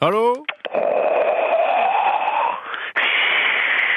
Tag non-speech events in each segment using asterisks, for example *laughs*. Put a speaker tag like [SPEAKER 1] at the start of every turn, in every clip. [SPEAKER 1] Hallo?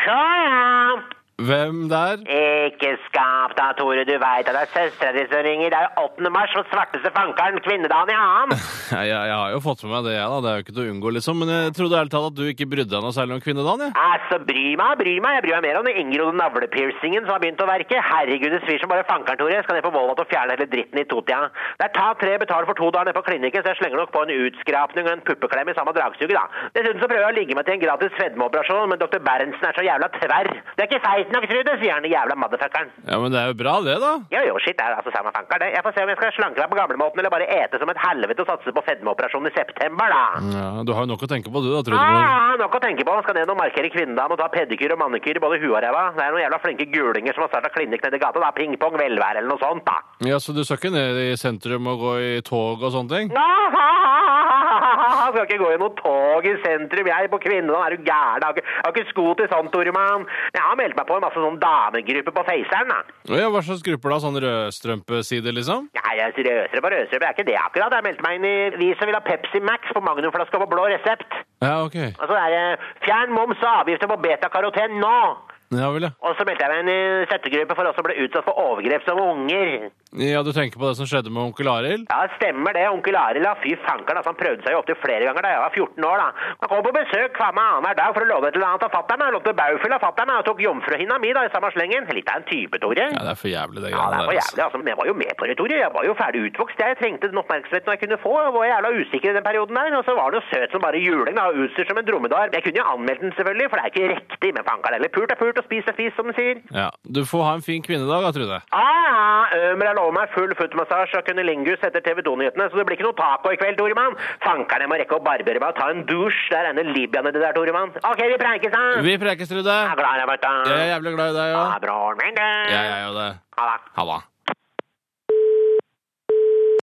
[SPEAKER 2] Sånn!
[SPEAKER 1] Hvem der? *laughs*
[SPEAKER 2] Ikke skap da, Tore. Du veit at det er søstera di som ringer. Det er jo 8. mars og svarteste fankeren kvinnedagen i annen.
[SPEAKER 1] Nei, Jeg, jeg har jo fått med meg det, jeg, da. Det er jo ikke til å unngå, liksom. Men jeg trodde ærlig talt at du ikke brydde deg noe særlig om kvinnedagen, jeg.
[SPEAKER 2] Altså, bry meg, bry meg. Jeg bryr meg mer om den inngrodd navlepiercingen som har begynt å verke. Herregud, det svir som bare fankeren, Tore. Skal ned på Volvat og fjerne hele dritten i totida. Det er ta tre, betal for to dager nede på klinikken, så jeg slenger nok på en utskrapning og en puppeklem i samme dragsuget, da. Dessuten så prøver jeg å ligge meg til en gratis fedmeoperasjon, men dr. Berntsen er så jævla tverr. Det er ikke feit nok, Trude, sier han den jævla motherfuckeren.
[SPEAKER 1] Ja, men det er jo bra, det, da.
[SPEAKER 2] Jo, jo, shit, det er altså samme fanker, det. Jeg får se om jeg skal slanke meg på gamlemåten eller bare ete som et helvete og satse på fedmeoperasjon i september, da.
[SPEAKER 1] Ja, Du har jo nok å tenke på, du, da, Trudemor.
[SPEAKER 2] Ah, nok å tenke på. Skal ned og markere kvinnedagen og ta pedikyr og manikyr i både huet og ræva. Det er noen jævla flinke gulinger som har starta klinikk nedi gata. da. Pingpong, velvære eller noe sånt, da.
[SPEAKER 1] Ja, så du skal ikke ned i sentrum og gå i tog og sånne ting?
[SPEAKER 2] Jeg skal ikke gå i noe tog i sentrum, jeg, på kvinnedagen. Er du gæren? Jeg har ikke- jeg har ikke sko til sånt, Toremann. Men jeg har meldt meg på en masse sånn damegrupper på Faceren, da.
[SPEAKER 1] Ja, Hva slags grupper da? Sånn rødstrømpeside, liksom?
[SPEAKER 2] Nei, jeg sier røsere på røsere, men det er ikke det akkurat. Jeg meldte meg inn i Vi som vil ha Pepsi Max på magnumflaska på blå resept.
[SPEAKER 1] Ja, ok.
[SPEAKER 2] Altså, det er eh, fjern moms og avgifter på betakaroten nå!
[SPEAKER 1] Ja vel, ja.
[SPEAKER 2] Og så meldte jeg meg inn i settegruppe for oss som ble utsatt for overgrep som unger.
[SPEAKER 1] Ja, Du tenker på det som skjedde med onkel Arild?
[SPEAKER 2] Ja, stemmer det. Onkel Arild, da. Fy fankeren, altså. Han prøvde seg jo opptil flere ganger da jeg var 14 år, da. Han kom på besøk hver meg annenhver dag for å love et eller annet av fatter'n. Han lovte baufyll av fatter'n, og tok jomfruhinna mi da i samme slengen. Litt av en type, Tore.
[SPEAKER 1] Ja, det er for jævlig, det
[SPEAKER 2] Ja, det
[SPEAKER 1] greiene
[SPEAKER 2] er for jævlig, altså. Men jeg var jo med på det, Tore. Jeg var jo ferdig utvokst. Jeg trengte den oppmerksomheten jeg kunne få. Jeg var jævla usikker i den perioden der. Og så var den jo søt som bare juling, da. og Utstyrt som en dromedar. Jeg kunne jo anmeldt den, selvfølgelig, for det er ikke riktig. Men fankeren heller. Pult er pult, og spis er spis, som den sier.
[SPEAKER 1] Ja, Du får ha en fin kvinnedag, da, Trude.
[SPEAKER 2] Ah, Ømer jeg lover meg full footmassasje og kunnilingus etter TV 2-nyhetene, så det blir ikke noe taco i kveld, Toremann. Fankeren, jeg må rekke å barbere meg og ta en dusj. Det er denne Libya nedi der, Toremann. OK, vi preikes, da.
[SPEAKER 1] Vi prekes, Trude.
[SPEAKER 2] Jeg er glad i deg, vet du.
[SPEAKER 1] Jeg er jævlig glad i deg
[SPEAKER 2] Ha
[SPEAKER 1] òg.
[SPEAKER 2] det, broren min. du.
[SPEAKER 1] Jeg er jo det.
[SPEAKER 2] Ha det.
[SPEAKER 1] Ha det.